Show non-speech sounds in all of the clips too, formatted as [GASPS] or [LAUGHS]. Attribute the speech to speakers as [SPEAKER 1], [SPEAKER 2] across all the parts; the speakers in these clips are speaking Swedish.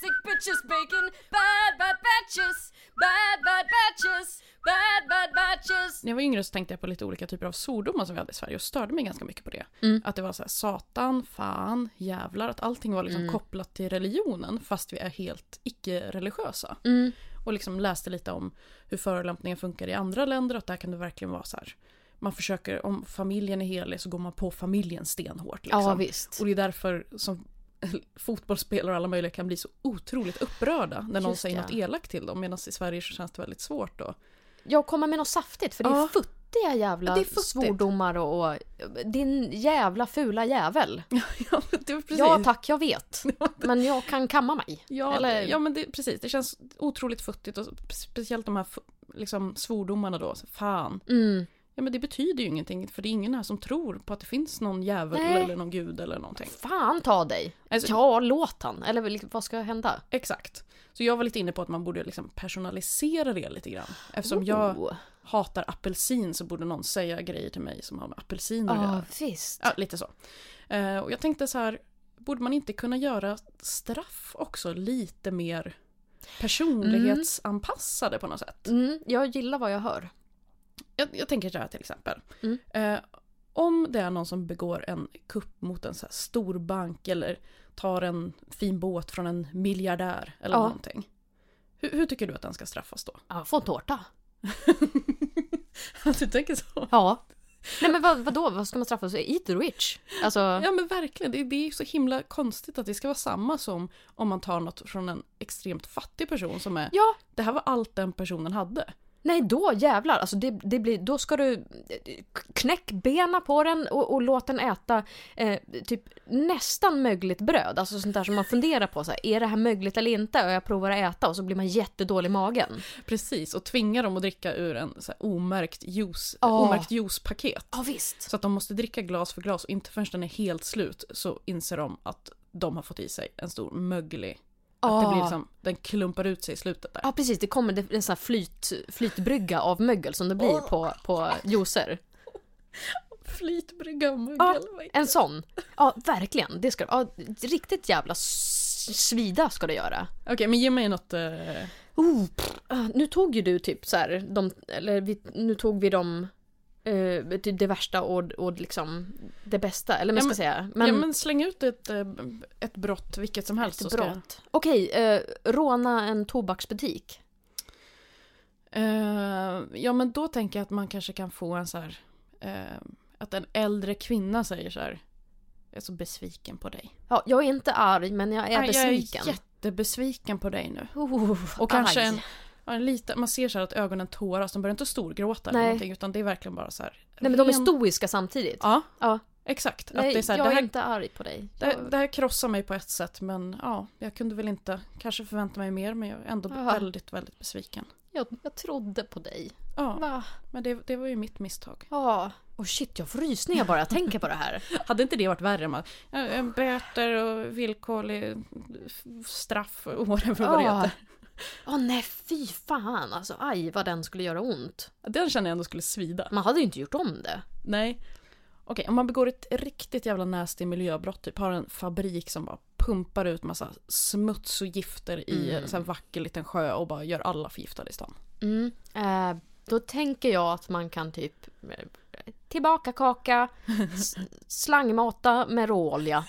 [SPEAKER 1] sandwiches, bacon, bad bad batches, bad bad batches, bad bad batches.
[SPEAKER 2] När jag var yngre så tänkte jag på lite olika typer av svordomar som vi hade i Sverige och störde mig ganska mycket på det.
[SPEAKER 1] Mm.
[SPEAKER 2] Att det var så här satan, fan, jävlar, att allting var liksom
[SPEAKER 1] Mm.
[SPEAKER 2] kopplat till religionen fast vi är helt icke-religiösa.
[SPEAKER 1] Mm.
[SPEAKER 2] Och liksom läste lite om hur förolämpningar funkar i andra länder och att där kan det verkligen vara så här. Man försöker, om familjen är helig så går man på familjen stenhårt. Liksom.
[SPEAKER 1] Ja visst.
[SPEAKER 2] Och det är därför som [LAUGHS] fotbollsspelare och alla möjliga kan bli så otroligt upprörda när någon
[SPEAKER 1] Just
[SPEAKER 2] säger
[SPEAKER 1] ja.
[SPEAKER 2] något elakt till dem. Medan i Sverige så känns det väldigt svårt då.
[SPEAKER 1] Jag kommer med något saftigt för det är
[SPEAKER 2] Ja.
[SPEAKER 1] futtiga jävla
[SPEAKER 2] Ja, det är futtigt.
[SPEAKER 1] svordomar och, och din jävla fula jävel.
[SPEAKER 2] [LAUGHS] ja, men det är precis.
[SPEAKER 1] Ja tack jag vet.
[SPEAKER 2] [LAUGHS]
[SPEAKER 1] Men jag kan kamma mig.
[SPEAKER 2] Ja,
[SPEAKER 1] Eller-
[SPEAKER 2] ja men det, precis. Det känns otroligt futtigt och speciellt de här fu- liksom, svordomarna då. Så, Fan.
[SPEAKER 1] Mm.
[SPEAKER 2] Ja men det betyder ju ingenting för det är ingen här som tror på att det finns någon djävul
[SPEAKER 1] Nej.
[SPEAKER 2] eller någon gud eller någonting.
[SPEAKER 1] Fan ta dig.
[SPEAKER 2] Alltså-
[SPEAKER 1] ja låt han. Eller liksom, vad ska hända?
[SPEAKER 2] Exakt. Så jag var lite inne på att man borde liksom personalisera det lite grann. Eftersom jag
[SPEAKER 1] Oh.
[SPEAKER 2] hatar apelsin så borde någon säga grejer till mig som har med apelsiner att
[SPEAKER 1] Ja
[SPEAKER 2] göra.
[SPEAKER 1] visst.
[SPEAKER 2] Ja, lite så. Eh, och jag tänkte så här, borde man inte kunna göra straff också lite mer personlighetsanpassade på något sätt?
[SPEAKER 1] Mm, jag gillar vad jag hör.
[SPEAKER 2] Jag, jag tänker så här till exempel.
[SPEAKER 1] Mm.
[SPEAKER 2] Eh, om det är någon som begår en kupp mot en så här stor bank eller tar en fin båt från en miljardär eller
[SPEAKER 1] Ja.
[SPEAKER 2] någonting. Hur, hur tycker du att den ska [LAUGHS] straffas då?
[SPEAKER 1] Ja, få en tårta.
[SPEAKER 2] du tänker så?
[SPEAKER 1] Ja. Nej men vad, vadå, vad ska man straffa sig? Eat rich. Alltså,
[SPEAKER 2] Ja men verkligen, det, det är ju så himla konstigt att det ska vara samma som om man tar något från en extremt fattig person som är
[SPEAKER 1] ja.
[SPEAKER 2] Det här var allt den personen hade.
[SPEAKER 1] Nej då jävlar, alltså det, det blir, då ska du eh, knäck bena på den och, och låt den äta eh, typ nästan mögligt bröd. Alltså sånt där som man funderar på, så här, är det här mögligt eller inte? Och jag provar att äta och så blir man jättedålig i magen.
[SPEAKER 2] Precis, och tvinga dem att dricka ur en så här omärkt, juice,
[SPEAKER 1] Ja.
[SPEAKER 2] omärkt juicepaket.
[SPEAKER 1] Ja visst.
[SPEAKER 2] Så att de måste dricka glas för glas och inte förrän den är helt slut så inser de att de har fått i sig en stor möglig. Att
[SPEAKER 1] Ah.
[SPEAKER 2] det blir liksom, den klumpar ut sig i slutet där.
[SPEAKER 1] Ja precis, det kommer det är en sån här flyt, flytbrygga av mögel som det blir på, på juicer.
[SPEAKER 2] Flytbrygga och
[SPEAKER 1] Ja,
[SPEAKER 2] mögel.
[SPEAKER 1] en sån. Ja, verkligen. Det ska ja, Riktigt jävla s- svida ska det göra.
[SPEAKER 2] Okej, men ge mig något. Eh,
[SPEAKER 1] Oh, pff, ah, nu tog ju du typ så här, de, eller vi, nu tog vi dem eh, det, det värsta och, och liksom det bästa, eller vad
[SPEAKER 2] Ja,
[SPEAKER 1] ska
[SPEAKER 2] men-
[SPEAKER 1] jag säga.
[SPEAKER 2] ja, men släng ut ett, eh, ett brott, vilket som helst.
[SPEAKER 1] ett
[SPEAKER 2] så ska-
[SPEAKER 1] brott. Okej, eh, råna en tobaksbutik.
[SPEAKER 2] Eh, ja, men då tänker jag att man kanske kan få en så här... eh, att en äldre kvinna säger så här... Jag är så besviken på dig.
[SPEAKER 1] Ja, jag är inte arg, men jag är
[SPEAKER 2] Nej,
[SPEAKER 1] besviken.
[SPEAKER 2] Jag är jättebesviken på dig nu.
[SPEAKER 1] oh,
[SPEAKER 2] Och kanske
[SPEAKER 1] aj.
[SPEAKER 2] en, ja, en liten... Man ser så här att ögonen tåras. De börjar inte storgråta eller
[SPEAKER 1] Nej.
[SPEAKER 2] någonting, utan det är verkligen bara så här...
[SPEAKER 1] Nej men de är
[SPEAKER 2] ren-
[SPEAKER 1] stoiska samtidigt.
[SPEAKER 2] Ja,
[SPEAKER 1] Ja.
[SPEAKER 2] exakt.
[SPEAKER 1] Nej,
[SPEAKER 2] att det är så här,
[SPEAKER 1] jag
[SPEAKER 2] det
[SPEAKER 1] är
[SPEAKER 2] här,
[SPEAKER 1] inte arg på dig.
[SPEAKER 2] det, här- det här krossar mig på ett sätt, men ja, jag kunde väl inte kanske förvänta mig mer, men jag är ändå
[SPEAKER 1] Ja.
[SPEAKER 2] väldigt, väldigt besviken.
[SPEAKER 1] Jag, jag trodde på dig.
[SPEAKER 2] Ja,
[SPEAKER 1] Va?
[SPEAKER 2] men det, det var ju mitt misstag.
[SPEAKER 1] [LAUGHS] Ja. Och shit, jag får rysningar bara jag tänker på det här.
[SPEAKER 2] Hade inte det varit värre? Man, ja, en böter och villkorlig straff och whatever vad det
[SPEAKER 1] Ja.
[SPEAKER 2] heter.
[SPEAKER 1] Åh Ah. nej, fy fan alltså. Aj, vad den skulle göra ont.
[SPEAKER 2] Den känner jag ändå skulle svida.
[SPEAKER 1] Man hade ju inte gjort om det.
[SPEAKER 2] Nej. Okej, om man begår ett riktigt jävla nasty miljöbrott, typ har en fabrik som bara pumpar ut massa smuts och gifter i
[SPEAKER 1] Mm.
[SPEAKER 2] en sån här vacker liten sjö och bara gör alla förgiftade i stan.
[SPEAKER 1] Mm. Eh, då tänker jag att man kan typ eh, tillbaka kaka,
[SPEAKER 2] [LAUGHS]
[SPEAKER 1] s- slangmata med råolja.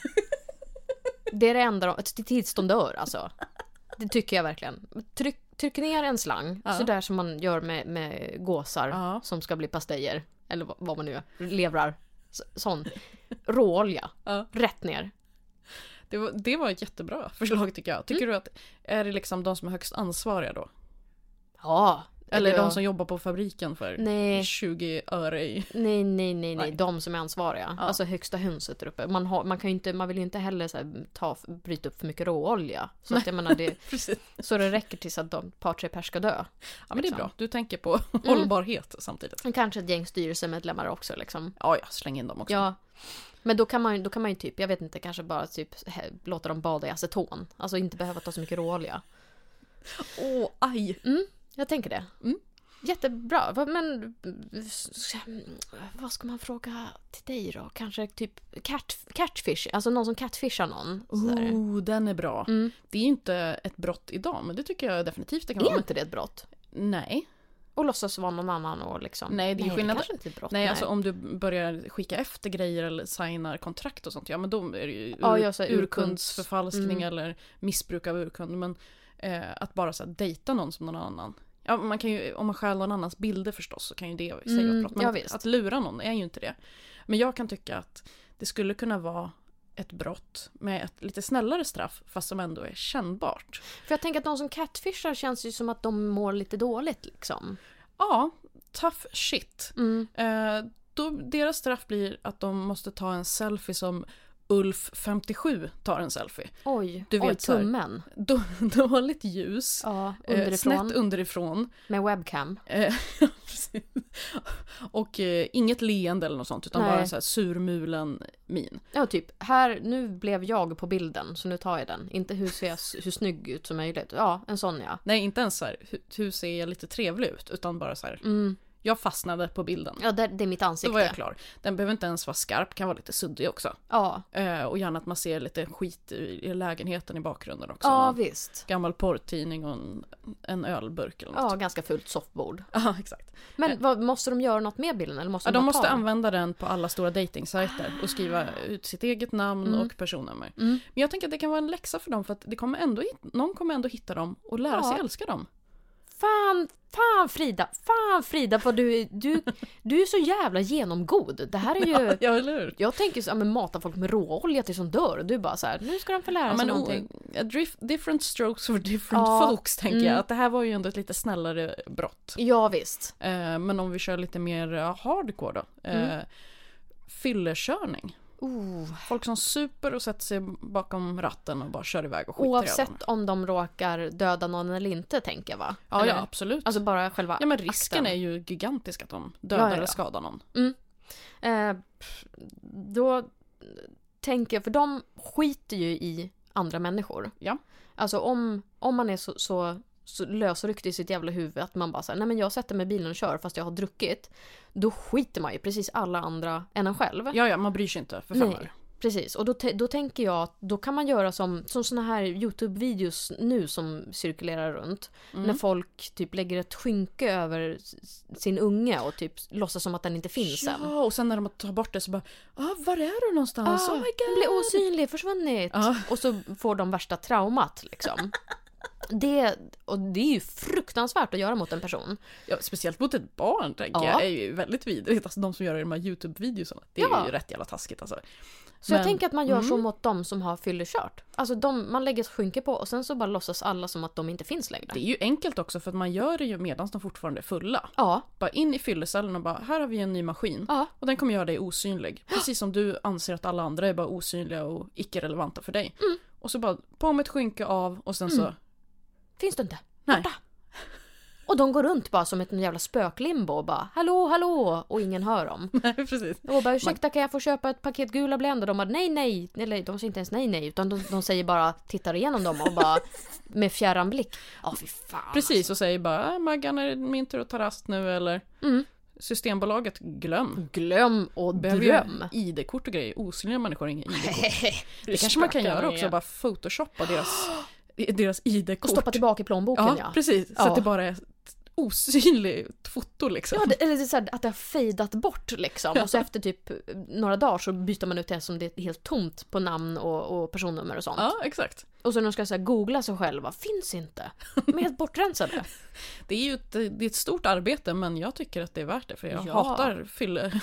[SPEAKER 1] Det är det enda de, t- tills de dör alltså. Det tycker jag verkligen. Tryck, tryck ner en slang,
[SPEAKER 2] Ja.
[SPEAKER 1] sådär som man gör med, med gåsar
[SPEAKER 2] Ja.
[SPEAKER 1] som ska bli pastejer. Eller vad- vad man nu gör, levrar. S- Sån. Råolja,
[SPEAKER 2] Ja.
[SPEAKER 1] rätt ner.
[SPEAKER 2] Det var, det var ett jättebra [LAUGHS] förslag tycker jag. Tycker
[SPEAKER 1] Mm.
[SPEAKER 2] du att, är det liksom de som är högst ansvariga då?
[SPEAKER 1] Ja.
[SPEAKER 2] Eller
[SPEAKER 1] ja.
[SPEAKER 2] de som jobbar på fabriken för
[SPEAKER 1] Nej.
[SPEAKER 2] 20 öre
[SPEAKER 1] [LAUGHS]
[SPEAKER 2] i...
[SPEAKER 1] Nej, nej, nej, nej.
[SPEAKER 2] Nej.
[SPEAKER 1] De som är ansvariga.
[SPEAKER 2] Ja.
[SPEAKER 1] Alltså högsta hönset där uppe. Man, har, man, kan ju inte, man vill ju inte heller så här, ta, bryta upp för mycket råolja. Så, att jag menar,
[SPEAKER 2] [LAUGHS]
[SPEAKER 1] det,
[SPEAKER 2] Precis.
[SPEAKER 1] så det räcker tills att de ett par, tre pers ska dö.
[SPEAKER 2] Ja men det är
[SPEAKER 1] Liksom.
[SPEAKER 2] bra, du tänker på hållbarhet samtidigt.
[SPEAKER 1] Men Kanske ett gäng styrelsemedlemmar också liksom.
[SPEAKER 2] Ja, ja, släng in dem också.
[SPEAKER 1] Ja. Men då kan, man, ju- då kan man ju typ, jag vet inte, kanske bara typ he, låta dem bada i aceton. Alltså inte behöva ta så mycket råolja.
[SPEAKER 2] Åh, aj!
[SPEAKER 1] Jag tänker det.
[SPEAKER 2] Mm.
[SPEAKER 1] Jättebra. Va- Men vad ska man fråga till dig då? Kanske typ cat, catfish, alltså någon som catfishar någon. sådär.
[SPEAKER 2] Oh, den är bra.
[SPEAKER 1] Mm.
[SPEAKER 2] Det är ju inte ett brott idag, men det tycker jag definitivt det kan
[SPEAKER 1] Är
[SPEAKER 2] vara.
[SPEAKER 1] inte det ett brott?
[SPEAKER 2] Nej.
[SPEAKER 1] Och låtsas vara någon annan och liksom...
[SPEAKER 2] Nej, det är skillnad-
[SPEAKER 1] kanske inte är ett brott.
[SPEAKER 2] Nej, alltså om du börjar skicka efter grejer eller signar kontrakt och sånt, ja men då är det ju ur,
[SPEAKER 1] Ja, jag säger
[SPEAKER 2] urkundsförfalskning
[SPEAKER 1] urkunds-
[SPEAKER 2] eller missbruk av urkund. Men eh, att bara så här, dejta någon som någon annan. Ja, man kan ju, om man stjäl någon annans bilder förstås så kan ju det säga
[SPEAKER 1] Mm,
[SPEAKER 2] ett brott. Men
[SPEAKER 1] ja,
[SPEAKER 2] att,
[SPEAKER 1] visst.
[SPEAKER 2] att lura någon är ju inte det. Men jag kan tycka att det skulle kunna vara ett brott med ett lite snällare straff fast som ändå är kännbart.
[SPEAKER 1] För jag tänker att de som catfishar känns ju som att de mår lite dåligt liksom.
[SPEAKER 2] Ja, tough shit.
[SPEAKER 1] Mm.
[SPEAKER 2] Eh, då, deras straff blir att de måste ta en selfie som Ulf 57 tar en selfie. [LAUGHS]
[SPEAKER 1] Oj,
[SPEAKER 2] Du
[SPEAKER 1] oj
[SPEAKER 2] vet så här-
[SPEAKER 1] tummen.
[SPEAKER 2] Då, dåligt ljus,
[SPEAKER 1] Ja,
[SPEAKER 2] eh,
[SPEAKER 1] underifrån.
[SPEAKER 2] snett underifrån.
[SPEAKER 1] Med webcam.
[SPEAKER 2] eh, [LAUGHS] precis. och eh, inget leende eller något sånt utan
[SPEAKER 1] Nej.
[SPEAKER 2] bara en så här surmulen min.
[SPEAKER 1] Ja, typ. Här, nu blev jag på bilden så nu tar jag den. Inte hur ser jag s- hur snygg ut som möjligt. Ja, en sån ja.
[SPEAKER 2] Nej, inte ens så här, hur, hur ser jag lite trevlig ut? Utan bara så här,
[SPEAKER 1] Mm.
[SPEAKER 2] jag fastnade på bilden.
[SPEAKER 1] Ja, det, det är mitt
[SPEAKER 2] Då
[SPEAKER 1] ansikte.
[SPEAKER 2] var jag klar. Den behöver inte ens vara skarp, kan vara lite suddig också.
[SPEAKER 1] Ja,
[SPEAKER 2] Eh, och gärna att man ser lite skit i i lägenheten i bakgrunden också.
[SPEAKER 1] ja
[SPEAKER 2] Man-
[SPEAKER 1] visst.
[SPEAKER 2] gammal porrtidning och en, en ölburk eller
[SPEAKER 1] Ja,
[SPEAKER 2] något.
[SPEAKER 1] ganska fult soffbord.
[SPEAKER 2] [LAUGHS] Ja, exakt.
[SPEAKER 1] Men vad, måste de göra något med bilden eller måste
[SPEAKER 2] Ja,
[SPEAKER 1] de,
[SPEAKER 2] de
[SPEAKER 1] bara ta
[SPEAKER 2] måste
[SPEAKER 1] den?
[SPEAKER 2] använda den på alla stora dejtingsajter och skriva ut sitt eget namn och personnummer.
[SPEAKER 1] Mm.
[SPEAKER 2] Men jag tänker att det kan vara en läxa för dem för att det kommer ändå, hit- någon kommer ändå hitta dem och lära
[SPEAKER 1] Ja.
[SPEAKER 2] sig älska dem. [LAUGHS]
[SPEAKER 1] Fan, fan Frida, fan Frida vad du, är- du, du är så jävla genomgod. Det här är ju...
[SPEAKER 2] [LAUGHS] Ja, eller hur?
[SPEAKER 1] Jag tänker så, ja, men mata folk med råolja tills de dör och du bara så här, nu ska de få lära
[SPEAKER 2] Ja,
[SPEAKER 1] sig
[SPEAKER 2] men,
[SPEAKER 1] någonting.
[SPEAKER 2] o- a drift, different strokes for different
[SPEAKER 1] Ja.
[SPEAKER 2] folks tänker
[SPEAKER 1] Mm.
[SPEAKER 2] jag. Att det här var ju ändå ett lite snällare brott.
[SPEAKER 1] Ja visst.
[SPEAKER 2] Eh, men om vi kör lite mer eh, hardcore då. Eh,
[SPEAKER 1] Mm.
[SPEAKER 2] Fyllekörning.
[SPEAKER 1] Oh.
[SPEAKER 2] Folk som super och sätter sig bakom ratten och bara kör iväg och skiter i alla andra.
[SPEAKER 1] Oavsett om de råkar döda någon eller inte tänker jag va?
[SPEAKER 2] Ja,
[SPEAKER 1] Eller?
[SPEAKER 2] ja absolut.
[SPEAKER 1] Alltså bara själva
[SPEAKER 2] ja, men risken
[SPEAKER 1] akten.
[SPEAKER 2] är ju gigantisk att de dödar
[SPEAKER 1] Ja, ja, ja.
[SPEAKER 2] eller skadar någon.
[SPEAKER 1] Eh, pff, då tänker jag, för de skiter ju i andra människor.
[SPEAKER 2] Ja.
[SPEAKER 1] Alltså om, om man är så, så, så lösryckt i sitt jävla huvud att man bara säger nej men jag sätter mig i bilen och kör fast jag har druckit. Då skiter man ju precis alla andra än en själv.
[SPEAKER 2] Ja, ja, man bryr sig inte för fem
[SPEAKER 1] Nej.
[SPEAKER 2] öre.
[SPEAKER 1] Precis, och då, te- då tänker jag att då kan man göra som, som såna här YouTube-videos nu som cirkulerar runt.
[SPEAKER 2] Mm.
[SPEAKER 1] När folk typ lägger ett skynke över s- sin unge och typ låtsas som att den inte finns än.
[SPEAKER 2] Ja, och sen när de tar bort det så bara ah, var är du någonstans?
[SPEAKER 1] Ah,
[SPEAKER 2] oh my
[SPEAKER 1] Den
[SPEAKER 2] god!
[SPEAKER 1] blir osynlig, försvunnit.
[SPEAKER 2] Ja.
[SPEAKER 1] Och så får de värsta traumat liksom. Det, och det är ju fruktansvärt att göra mot en person.
[SPEAKER 2] Ja, speciellt mot ett barn tänker
[SPEAKER 1] Ja.
[SPEAKER 2] jag är ju väldigt vidrigt. Alltså de som gör de här YouTube-videorna. Det är
[SPEAKER 1] Ja.
[SPEAKER 2] ju rätt jävla taskigt alltså.
[SPEAKER 1] Så jag
[SPEAKER 2] Men-
[SPEAKER 1] tänker att man gör så
[SPEAKER 2] mm.
[SPEAKER 1] mot de som har fyllekört. Alltså de, man lägger ett skynke på och sen så bara låtsas alla som att de inte finns längre.
[SPEAKER 2] Det är ju enkelt också för att man gör det ju medan de fortfarande är fulla.
[SPEAKER 1] Ja,
[SPEAKER 2] Bara in i fyllecellen och bara här har vi en ny maskin.
[SPEAKER 1] ja,
[SPEAKER 2] Och den kommer göra dig osynlig. Precis som du anser att alla andra är bara osynliga och icke-relevanta för dig.
[SPEAKER 1] Mm.
[SPEAKER 2] Och så bara på med ett skynke av och sen så
[SPEAKER 1] finns du inte?
[SPEAKER 2] Nej.
[SPEAKER 1] Och de går runt bara som ett jävla spöklimbo och bara hallå, hallå och ingen hör dem.
[SPEAKER 2] [LAUGHS] Nej, precis.
[SPEAKER 1] Och bara ursäkta kan jag få köpa ett paket gula Blend? Och de bara nej nej. Eller de säger inte ens nej nej utan de, de säger bara tittar igenom dem och bara med fjärran blick. Ja fy fan.
[SPEAKER 2] Precis, och säger bara "Äh, Maggan är det min tur att ta rast nu eller
[SPEAKER 1] Mm.
[SPEAKER 2] Systembolaget, glöm.
[SPEAKER 1] Glöm och
[SPEAKER 2] Behöver ju
[SPEAKER 1] dröm.
[SPEAKER 2] ID-kort och grejer. Osynliga människor
[SPEAKER 1] [LAUGHS]
[SPEAKER 2] har inga ID-kort.
[SPEAKER 1] det
[SPEAKER 2] Det kanske man kan göra också, bara
[SPEAKER 1] [GASPS]
[SPEAKER 2] photoshoppa deras, deras
[SPEAKER 1] Och
[SPEAKER 2] ID-kort.
[SPEAKER 1] stoppa tillbaka i plånboken ja.
[SPEAKER 2] ja, precis. Så
[SPEAKER 1] Ja.
[SPEAKER 2] att det bara är ett osynligt foto liksom.
[SPEAKER 1] Ja, det, eller det är så här, att det har fejdat bort liksom. Och så efter typ några dagar så byter man ut det som det är helt tomt på namn och, och personnummer och sånt.
[SPEAKER 2] ja exakt.
[SPEAKER 1] Och så när de ska så här, googla sig själva, finns inte. De är helt bortrensade.
[SPEAKER 2] Det är ju ett, det är ett stort arbete men jag tycker att det är värt det för jag
[SPEAKER 1] Ja.
[SPEAKER 2] hatar fylle,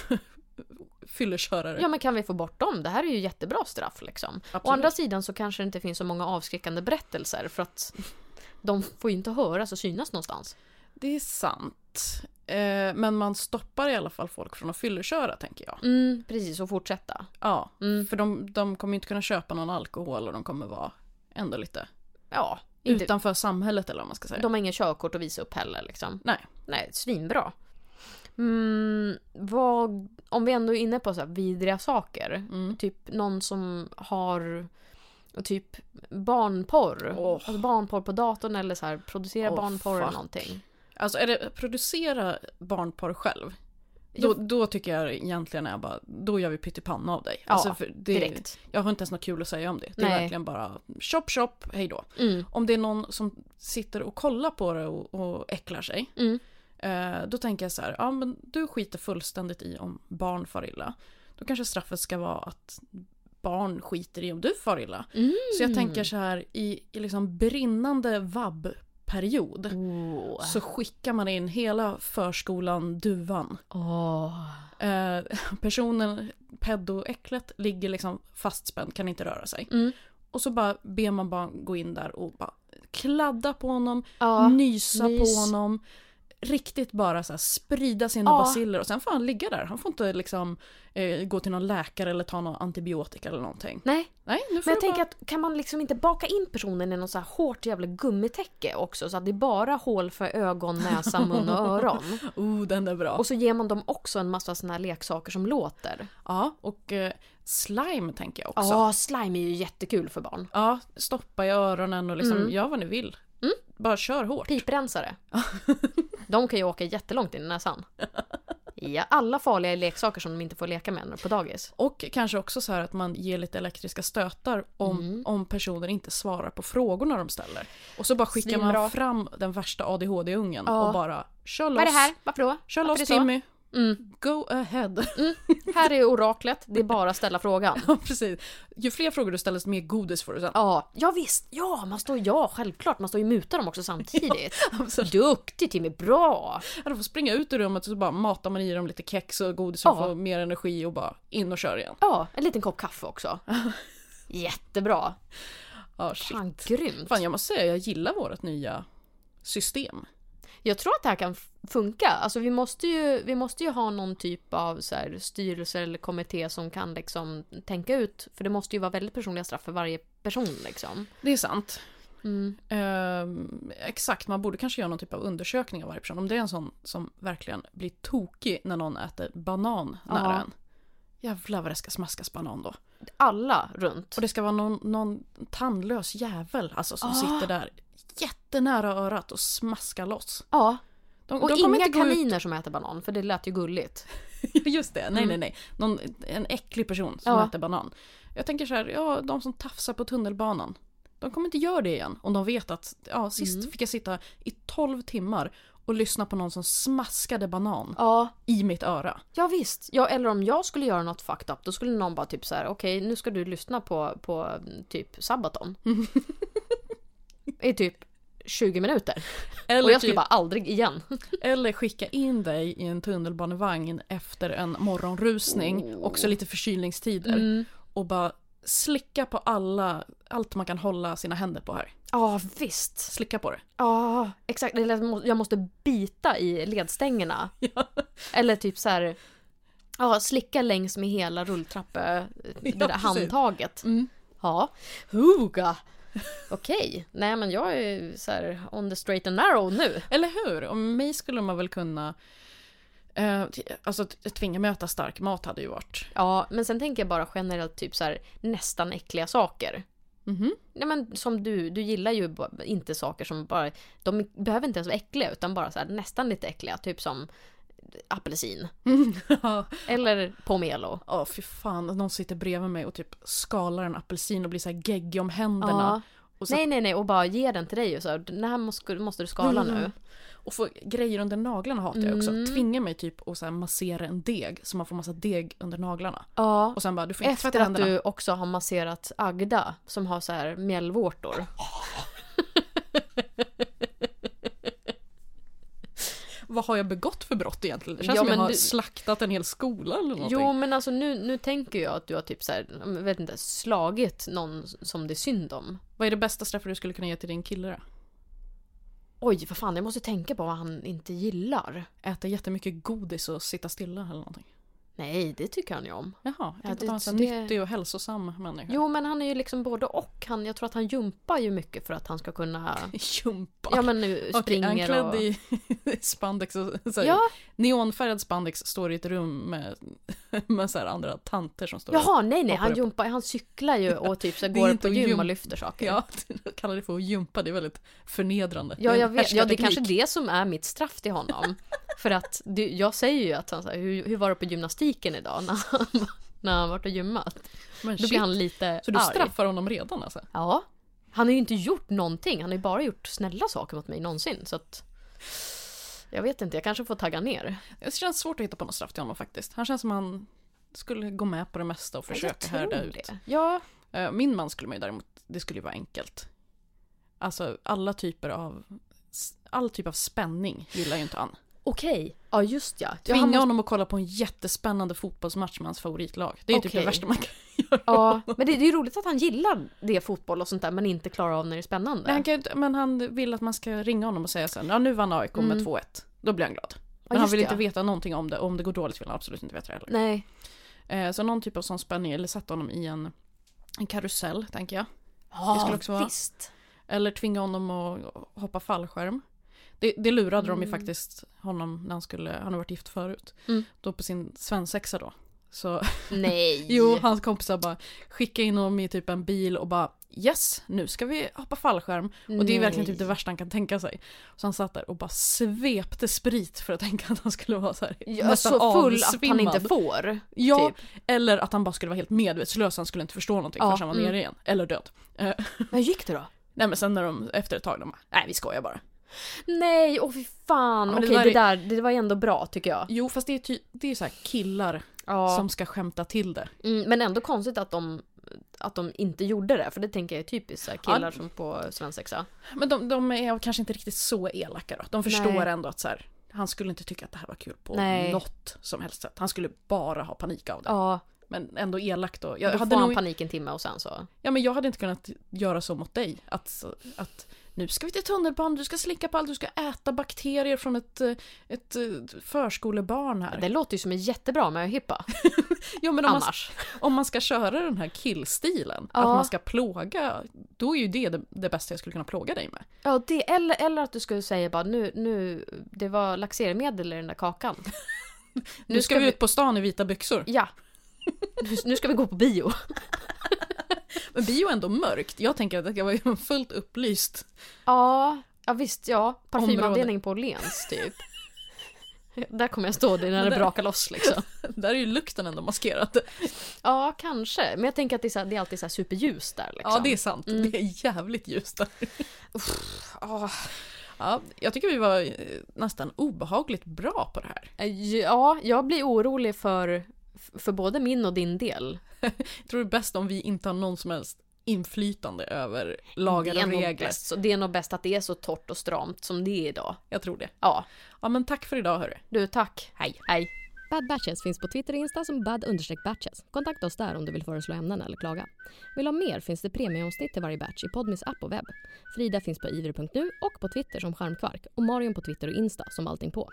[SPEAKER 2] [LAUGHS] fyllekörare.
[SPEAKER 1] Ja men kan vi få bort dem? Det här är ju jättebra straff liksom.
[SPEAKER 2] Absolut.
[SPEAKER 1] Å andra sidan så kanske det inte finns så många avskräckande berättelser för att de får ju inte höras och synas någonstans.
[SPEAKER 2] Det är sant. Eh, men man stoppar i alla fall folk från att fylleköra tänker jag.
[SPEAKER 1] Mm, precis, och fortsätta.
[SPEAKER 2] Ja,
[SPEAKER 1] Mm.
[SPEAKER 2] för de, de kommer ju inte kunna köpa någon alkohol och de kommer vara ändå lite
[SPEAKER 1] Ja, inte,
[SPEAKER 2] utanför samhället eller vad man ska säga.
[SPEAKER 1] de har inga körkort att visa upp heller liksom.
[SPEAKER 2] Nej.
[SPEAKER 1] Nej, svinbra. Mm, vad, om vi ändå är inne på så här vidriga saker.
[SPEAKER 2] Mm.
[SPEAKER 1] Typ någon som har typ barnporr.
[SPEAKER 2] Åh.
[SPEAKER 1] Alltså barnporr på datorn eller så här producera
[SPEAKER 2] Åh,
[SPEAKER 1] barnporr eller
[SPEAKER 2] fuck.
[SPEAKER 1] någonting.
[SPEAKER 2] Alltså är det producera barnporr själv, då, då tycker jag egentligen är bara, då gör vi pyttipanna av dig.
[SPEAKER 1] Ja,
[SPEAKER 2] alltså för det,
[SPEAKER 1] direkt.
[SPEAKER 2] Jag har inte ens något kul att säga om det. Det
[SPEAKER 1] Nej.
[SPEAKER 2] är verkligen bara chop chop, hej då.
[SPEAKER 1] Mm,
[SPEAKER 2] Om det är någon som sitter och kollar på det och, och äcklar sig,
[SPEAKER 1] mm,
[SPEAKER 2] eh, då tänker jag så här, ja men du skiter fullständigt i om barn far illa. Då kanske straffet ska vara att barn skiter i om du far illa.
[SPEAKER 1] mm.
[SPEAKER 2] Så jag tänker så här, i, i liksom brinnande vabb-period
[SPEAKER 1] Mm. Åh.
[SPEAKER 2] så skickar man in hela förskolan Duvan.
[SPEAKER 1] Åh.
[SPEAKER 2] Eh, personen, pedoäcklet, ligger liksom fastspänd, kan inte röra sig.
[SPEAKER 1] Mm.
[SPEAKER 2] Och så bara ber man bara gå in där och bara kladda på honom,
[SPEAKER 1] Ja.
[SPEAKER 2] nysa
[SPEAKER 1] nys.
[SPEAKER 2] på honom. Riktigt bara så här sprida sina
[SPEAKER 1] Ja.
[SPEAKER 2] baciller och sen får han ligga där. Han får inte liksom eh, gå till någon läkare eller ta någon antibiotika eller någonting.
[SPEAKER 1] Nej,
[SPEAKER 2] Nej, nu får
[SPEAKER 1] men jag
[SPEAKER 2] du bara...
[SPEAKER 1] tänker att kan man liksom inte baka in personen i något så här hårt jävla gummitäcke också så att det är bara hål för ögon, näsa, mun och öron. [LAUGHS]
[SPEAKER 2] Oh, den är bra.
[SPEAKER 1] Och så ger man dem också en massa såna här leksaker som låter.
[SPEAKER 2] Ja, och eh, slime tänker jag också.
[SPEAKER 1] Ja, slime är ju jättekul för barn.
[SPEAKER 2] Ja, stoppa i öronen och
[SPEAKER 1] Mm.
[SPEAKER 2] liksom gör vad ni vill. Bara kör
[SPEAKER 1] [LAUGHS]
[SPEAKER 2] hårt.
[SPEAKER 1] Piprensare. De kan ju åka jättelångt in i näsan. Ja, alla farliga leksaker som de inte får leka med när de är på dagis.
[SPEAKER 2] Och kanske också så här att man ger lite elektriska stötar om,
[SPEAKER 1] Mm.
[SPEAKER 2] om personer inte svarar på frågorna de ställer. Och så bara skickar
[SPEAKER 1] Svinbra.
[SPEAKER 2] man fram den värsta ADHD-ungen
[SPEAKER 1] Ja.
[SPEAKER 2] och bara kör loss.
[SPEAKER 1] Vad är det här? Varför då?
[SPEAKER 2] Kör
[SPEAKER 1] Varför
[SPEAKER 2] loss
[SPEAKER 1] är det så?
[SPEAKER 2] Timmy.
[SPEAKER 1] Mm.
[SPEAKER 2] Go ahead. [LAUGHS]
[SPEAKER 1] Här är oraklet, det är bara att ställa frågan.
[SPEAKER 2] Ja, Precis. Ju fler frågor du ställer desto mer godis får du sen.
[SPEAKER 1] Ja, ja visst. Ja, man står ja, självklart. Man står ju och mutar dem också
[SPEAKER 2] [LAUGHS]
[SPEAKER 1] samtidigt.
[SPEAKER 2] absolut.
[SPEAKER 1] Duktig Timmy, bra!
[SPEAKER 2] Ja, De får springa ut ur rummet och så bara matar man i dem lite kex och godis och
[SPEAKER 1] Ja.
[SPEAKER 2] får mer energi och bara in och kör igen.
[SPEAKER 1] Ja, en liten kopp kaffe också. Jättebra.
[SPEAKER 2] Ja, shit.
[SPEAKER 1] Fan, grymt.
[SPEAKER 2] Fan, jag måste säga jag gillar vårt nya system.
[SPEAKER 1] Jag tror att det här kan f- funka. Alltså vi måste ju, vi måste ju ha någon typ av så här, styrelse eller kommitté som kan liksom tänka ut. För det måste ju vara väldigt personliga straff för varje person liksom.
[SPEAKER 2] Det är sant.
[SPEAKER 1] Mm.
[SPEAKER 2] Ehm, exakt, man borde kanske göra någon typ av undersökning av varje person. Om det är en sån som verkligen blir tokig när någon äter banan nära
[SPEAKER 1] Ja.
[SPEAKER 2] en. Jävlar vad det ska smaskas banan då.
[SPEAKER 1] Alla runt.
[SPEAKER 2] Och det ska vara någon, någon tandlös jävel alltså, som
[SPEAKER 1] Ja.
[SPEAKER 2] sitter där jättenära örat och smaskar loss.
[SPEAKER 1] Ja,
[SPEAKER 2] De,
[SPEAKER 1] och
[SPEAKER 2] de kommer
[SPEAKER 1] inga
[SPEAKER 2] inte gå ut-
[SPEAKER 1] kaniner som äter banan för det lät ju gulligt.
[SPEAKER 2] [LAUGHS] Just det, nej nej nej. Någon, en äcklig person som
[SPEAKER 1] Mm. Ja.
[SPEAKER 2] äter banan. Jag tänker så här, ja de som tafsar på tunnelbanan. De kommer inte göra det igen om de vet att ja, sist
[SPEAKER 1] Mm.
[SPEAKER 2] fick jag sitta i 12 timmar och lyssna på någon som smaskade banan
[SPEAKER 1] Ja,
[SPEAKER 2] i mitt öra.
[SPEAKER 1] Ja visst, ja, eller om jag skulle göra något fucked up då skulle någon bara typ så här: okej nu ska du lyssna på, på mm, typ
[SPEAKER 2] [LAUGHS]
[SPEAKER 1] Sabaton. I typ 20 minuter.
[SPEAKER 2] Eller,
[SPEAKER 1] Och jag skulle
[SPEAKER 2] typ-
[SPEAKER 1] bara aldrig igen.
[SPEAKER 2] eller skicka in dig i en tunnelbanevagn efter en morgonrusning,
[SPEAKER 1] Oh.
[SPEAKER 2] också lite förkylningstider.
[SPEAKER 1] Mm.
[SPEAKER 2] Och bara slicka på alla, allt man kan hålla sina händer på här.
[SPEAKER 1] Ja visst.
[SPEAKER 2] Slicka på det.
[SPEAKER 1] Ja exakt, eller jag må- jag måste bita i
[SPEAKER 2] [LAUGHS]
[SPEAKER 1] ledstängerna. Eller typ så här. Ja, slicka längs med hela rulltrappe, eh, det
[SPEAKER 2] Ja,
[SPEAKER 1] där
[SPEAKER 2] precis.
[SPEAKER 1] handtaget.
[SPEAKER 2] Mm.
[SPEAKER 1] Ja. Huga! Okej, nej men jag är så här on the straight and narrow nu.
[SPEAKER 2] Eller hur? Om mig skulle man väl kunna... Eh, t- alltså t- tvinga mig att äta stark mat hade ju varit...
[SPEAKER 1] Ja, men sen tänker jag bara generellt typ så här nästan äckliga saker. [LAUGHS]
[SPEAKER 2] Mhm.
[SPEAKER 1] Nej men som du, du gillar ju ba- inte saker som bara, de behöver inte ens vara äckliga utan bara så här nästan lite äckliga, typ som apelsin.
[SPEAKER 2] Ja,
[SPEAKER 1] Eller pomelo.
[SPEAKER 2] Åh fy fan. Någon sitter bredvid mig och typ skalar en apelsin och blir så här geggig om händerna. Och, så,
[SPEAKER 1] Nej nej nej och bara ge den till dig och så här, den här måste, måste du skala nu.
[SPEAKER 2] och får grejer under naglarna hatar jag också.
[SPEAKER 1] Mm.
[SPEAKER 2] Tvingar mig typ att så här massera en deg så man får massa deg under naglarna.
[SPEAKER 1] Ja.
[SPEAKER 2] Och sen bara, du får inte
[SPEAKER 1] Efter
[SPEAKER 2] tvätta
[SPEAKER 1] att
[SPEAKER 2] händerna.
[SPEAKER 1] du också har masserat Agda som har så här mjällvårtor.
[SPEAKER 2] Vad har jag begått för brott egentligen? Det känns
[SPEAKER 1] Ja,
[SPEAKER 2] som jag
[SPEAKER 1] men
[SPEAKER 2] har
[SPEAKER 1] du-
[SPEAKER 2] slaktat en hel skola eller någonting.
[SPEAKER 1] Jo men alltså nu, nu tänker jag att du har typ så här, jag vet inte, slagit någon som det är synd om.
[SPEAKER 2] Vad är det bästa straffet du skulle kunna ge till din kille då?
[SPEAKER 1] Oj, vad fan, jag måste tänka på vad han inte gillar.
[SPEAKER 2] Äta jättemycket godis och sitta stilla eller någonting.
[SPEAKER 1] Nej, det tycker han ju om.
[SPEAKER 2] Jaha, jag tänkte
[SPEAKER 1] det-
[SPEAKER 2] att han var en
[SPEAKER 1] det-
[SPEAKER 2] nyttig och hälsosam människa.
[SPEAKER 1] Jo, men han är ju liksom både och. Han, jag tror att han jumpar ju mycket för att han ska kunna...
[SPEAKER 2] [LAUGHS] Jumpa.
[SPEAKER 1] Ja, men nu
[SPEAKER 2] Okej,
[SPEAKER 1] springer
[SPEAKER 2] han klädd
[SPEAKER 1] och...
[SPEAKER 2] i [LAUGHS] spandex och så här,
[SPEAKER 1] Ja,
[SPEAKER 2] neonfärgad spandex står i ett rum med, [LAUGHS] med så här andra tanter som står
[SPEAKER 1] jaha, nej nej,
[SPEAKER 2] Hoppar
[SPEAKER 1] han
[SPEAKER 2] upp.
[SPEAKER 1] jumpar, han cyklar ju och typ så
[SPEAKER 2] Det är
[SPEAKER 1] går
[SPEAKER 2] inte
[SPEAKER 1] på
[SPEAKER 2] att
[SPEAKER 1] gym
[SPEAKER 2] jumpa.
[SPEAKER 1] och lyfter saker.
[SPEAKER 2] Ja, [LAUGHS] kallar det för att jumpa, det är väldigt förnedrande.
[SPEAKER 1] Ja,
[SPEAKER 2] är en
[SPEAKER 1] jag vet, ja, det är
[SPEAKER 2] härskarteknik.
[SPEAKER 1] kanske det som är mitt straff till honom. [LAUGHS] För att det, jag säger ju att han så här, hur, hur var det på gymnastiken idag när han, [LAUGHS] när han varit och gymmat?
[SPEAKER 2] Men
[SPEAKER 1] Då
[SPEAKER 2] shit,
[SPEAKER 1] blir han lite
[SPEAKER 2] Så du
[SPEAKER 1] arg.
[SPEAKER 2] straffar honom redan alltså?
[SPEAKER 1] Ja. Han har ju inte gjort någonting. Han har ju bara gjort snälla saker mot mig någonsin. Så att... Jag vet inte, jag kanske får tagga ner.
[SPEAKER 2] Det känns svårt att hitta på något straff till honom faktiskt. Han känns som han skulle gå med på det mesta och försöka härda ut.
[SPEAKER 1] Ja,
[SPEAKER 2] Eh, Min man skulle man ju däremot, det skulle ju vara enkelt. Alltså alla typer av, all typ av spänning gillar ju inte han.
[SPEAKER 1] okej. Ja, just ja. Ja,
[SPEAKER 2] Tvinga
[SPEAKER 1] han måste-
[SPEAKER 2] honom att kolla på en jättespännande fotbollsmatch med hans favoritlag. Det är ju typ
[SPEAKER 1] Okej.
[SPEAKER 2] det värsta man kan göra.
[SPEAKER 1] ja, men det, det är ju roligt att han gillar det fotboll och sånt där men inte klarar av när det är spännande.
[SPEAKER 2] Men han, kan, ju inte- men han vill att man ska ringa honom och säga sen, ja nu vann AIK med
[SPEAKER 1] Mm.
[SPEAKER 2] 2-1. Då blir han glad. Men
[SPEAKER 1] ja,
[SPEAKER 2] han
[SPEAKER 1] just
[SPEAKER 2] vill
[SPEAKER 1] det,
[SPEAKER 2] inte
[SPEAKER 1] ja.
[SPEAKER 2] veta någonting om det, och om det går dåligt vill han absolut inte veta det heller.
[SPEAKER 1] Nej.
[SPEAKER 2] Eh, så någon typ av sån spänning, eller sätta honom i en, en karusell, tänker jag.
[SPEAKER 1] Ja,
[SPEAKER 2] skulle också vara-
[SPEAKER 1] visst.
[SPEAKER 2] Eller tvinga honom att hoppa fallskärm. Det, det lurade de ju
[SPEAKER 1] Mm.
[SPEAKER 2] faktiskt honom när han skulle, han har varit gift förut.
[SPEAKER 1] Mm.
[SPEAKER 2] Då på sin svensexa då. Så
[SPEAKER 1] Nej.
[SPEAKER 2] [LAUGHS] jo, hans kompisar bara skickade in honom i typ en bil och bara yes, nu ska vi hoppa fallskärm. Och det är ju verkligen typ det värsta han kan tänka sig. Så han satt där och bara svepte sprit för att [LAUGHS] tänka att han skulle vara så här
[SPEAKER 1] Ja, så full att han inte
[SPEAKER 2] avsvimmad.
[SPEAKER 1] får.
[SPEAKER 2] Ja,
[SPEAKER 1] typ.
[SPEAKER 2] eller att han bara skulle vara helt medvetslös, han skulle inte förstå någonting
[SPEAKER 1] Ja,
[SPEAKER 2] förrän han var
[SPEAKER 1] mm.
[SPEAKER 2] nere igen. Eller död. Eh,
[SPEAKER 1] Men gick det då?
[SPEAKER 2] nej men sen när de, efter ett tag, de bara, nej vi skojar bara.
[SPEAKER 1] Nej, åh fy fan.
[SPEAKER 2] Ja, men det
[SPEAKER 1] Okej,
[SPEAKER 2] där
[SPEAKER 1] det,
[SPEAKER 2] är-
[SPEAKER 1] där, det var ju ändå bra tycker jag.
[SPEAKER 2] Jo fast det är, ty- det är så här killar
[SPEAKER 1] Ja.
[SPEAKER 2] som ska skämta till det.
[SPEAKER 1] Mm, men ändå konstigt att de, att de inte gjorde det, för det tänker jag är typiskt så här, killar
[SPEAKER 2] Ja.
[SPEAKER 1] som på svensexa.
[SPEAKER 2] Men de, de är kanske inte riktigt så elaka då. De förstår
[SPEAKER 1] Nej.
[SPEAKER 2] ändå att så här, han skulle inte tycka att det här var kul på
[SPEAKER 1] Nej.
[SPEAKER 2] något som helst sätt. Han skulle bara ha panik av det.
[SPEAKER 1] Ja,
[SPEAKER 2] Men ändå elakt då.
[SPEAKER 1] då
[SPEAKER 2] Jag hade,
[SPEAKER 1] får han
[SPEAKER 2] nog,
[SPEAKER 1] panik en timme och sen så.
[SPEAKER 2] ja, men jag hade inte kunnat göra så mot dig. Att, att nu ska vi till tunnelbanan, du ska slicka på allt, du ska äta bakterier från ett, eh, ett eh, förskolebarn här.
[SPEAKER 1] Det låter ju som en jättebra möhippa
[SPEAKER 2] Ja, men om man,
[SPEAKER 1] annars.
[SPEAKER 2] om man ska köra den här killstilen,
[SPEAKER 1] Ja.
[SPEAKER 2] att man ska plåga, då är ju det det, det bästa jag skulle kunna plåga dig med.
[SPEAKER 1] Ja, det, eller, eller att du skulle säga bara nu, nu, det var laxermedel i den där [LAUGHS] kakan.
[SPEAKER 2] Nu, ska, vi ut på stan i vita byxor.
[SPEAKER 1] Ja. Nu- Nu ska vi gå på bio.
[SPEAKER 2] Men bio är ändå mörkt. Jag tänker att det ska vara [LAUGHS] fullt upplyst. [LAUGHS]
[SPEAKER 1] Ja, ja visst ja.
[SPEAKER 2] Område.
[SPEAKER 1] Parfymavdelning på Åhléns [LAUGHS] typ. Där kommer jag stå det när det
[SPEAKER 2] Där.
[SPEAKER 1] brakar loss liksom.
[SPEAKER 2] Där är ju lukten ändå maskerad.
[SPEAKER 1] Ja, kanske. Men jag tänker att det är, så här, det är alltid så här superljust där liksom.
[SPEAKER 2] Ja, det är sant.
[SPEAKER 1] Mm. ah.
[SPEAKER 2] Det är jävligt ljust där. Ja, jag tycker vi var eh, nästan obehagligt bra på det här.
[SPEAKER 1] eh, Ja, jag blir orolig för, för både min och din del.
[SPEAKER 2] Jag tror det är bäst om vi inte har någon som helst inflytande över lagar
[SPEAKER 1] det, är
[SPEAKER 2] och
[SPEAKER 1] nog
[SPEAKER 2] regler.
[SPEAKER 1] bäst, så det är nog bäst att det är så torrt och stramt som det är idag.
[SPEAKER 2] Jag tror det.
[SPEAKER 1] Ja,
[SPEAKER 2] Ja, men tack för idag hörru.
[SPEAKER 1] du tack. Hej. Hej.
[SPEAKER 3] Bad Batches finns på Twitter och Insta som bad-batches. Kontakta oss där om du vill föreslå ämnen eller klaga. Vill du ha mer finns det premieomsnitt till varje batch i Podmis app och webb. Frida finns på ivr.nu och på Twitter som Charmkvark och Marion på Twitter och Insta som allting på.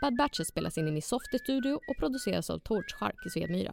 [SPEAKER 3] Bad Batches spelas in i Miss Softy Studio och produceras av Torch Chark i Svedmyra.